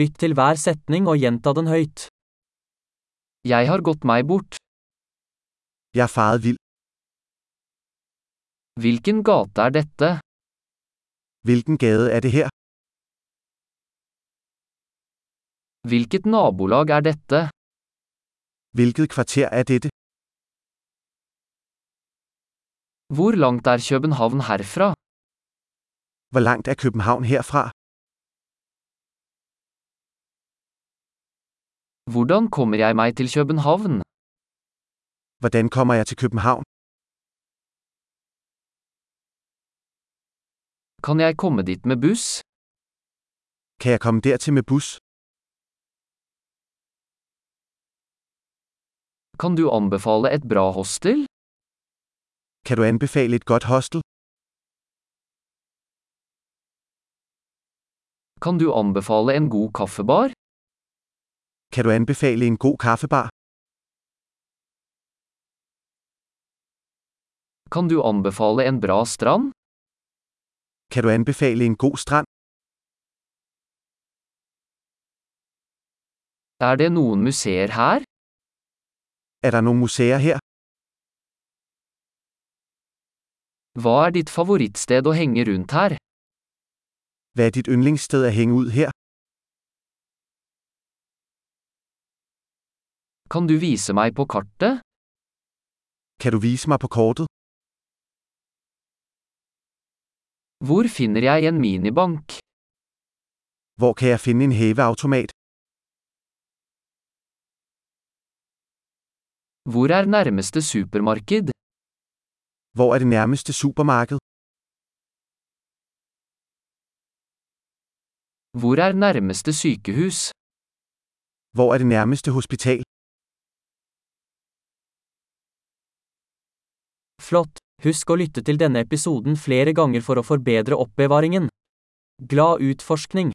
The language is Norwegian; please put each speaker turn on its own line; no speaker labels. Lytt til hver setning og gjenta den høyt. Jeg har gått meg bort.
Jeg er faret vild.
Hvilken gate er dette?
Hvilken gade er det her?
Hvilket nabolag er dette?
Hvilket kvarter er dette?
Hvor langt er København herfra?
Hvor langt er København herfra?
Hvordan kommer jeg meg til København?
Hvordan kommer jeg til København?
Kan jeg komme dit med buss?
Kan jeg komme dertil med bus?
Kan du anbefale et bra hostel?
Kan du anbefale et godt hostel?
Kan du anbefale en god kaffebar?
Kan du anbefale en god kaffebar?
Kan du anbefale en bra strand?
Kan du anbefale en god strand?
Er det noen museer her?
Er der noen museer her?
Hva er ditt favorittsted å henge rundt her?
Hvad er dit yndlingssted at hænge ud her?
Kan du vise meg på kartet?
Kan du vise mig på kortet?
Hvor finner jeg en minibank?
Hvor kan jeg finde en hæveautomat?
Hvor er nærmeste supermarked?
Hvor er det nærmeste supermarked?
Hvor er nærmeste sykehus?
Hvor er det nærmeste hospital?
Flott! Husk å lytte til denne episoden flere ganger for å forbedre oppbevaringen. Glad utforskning!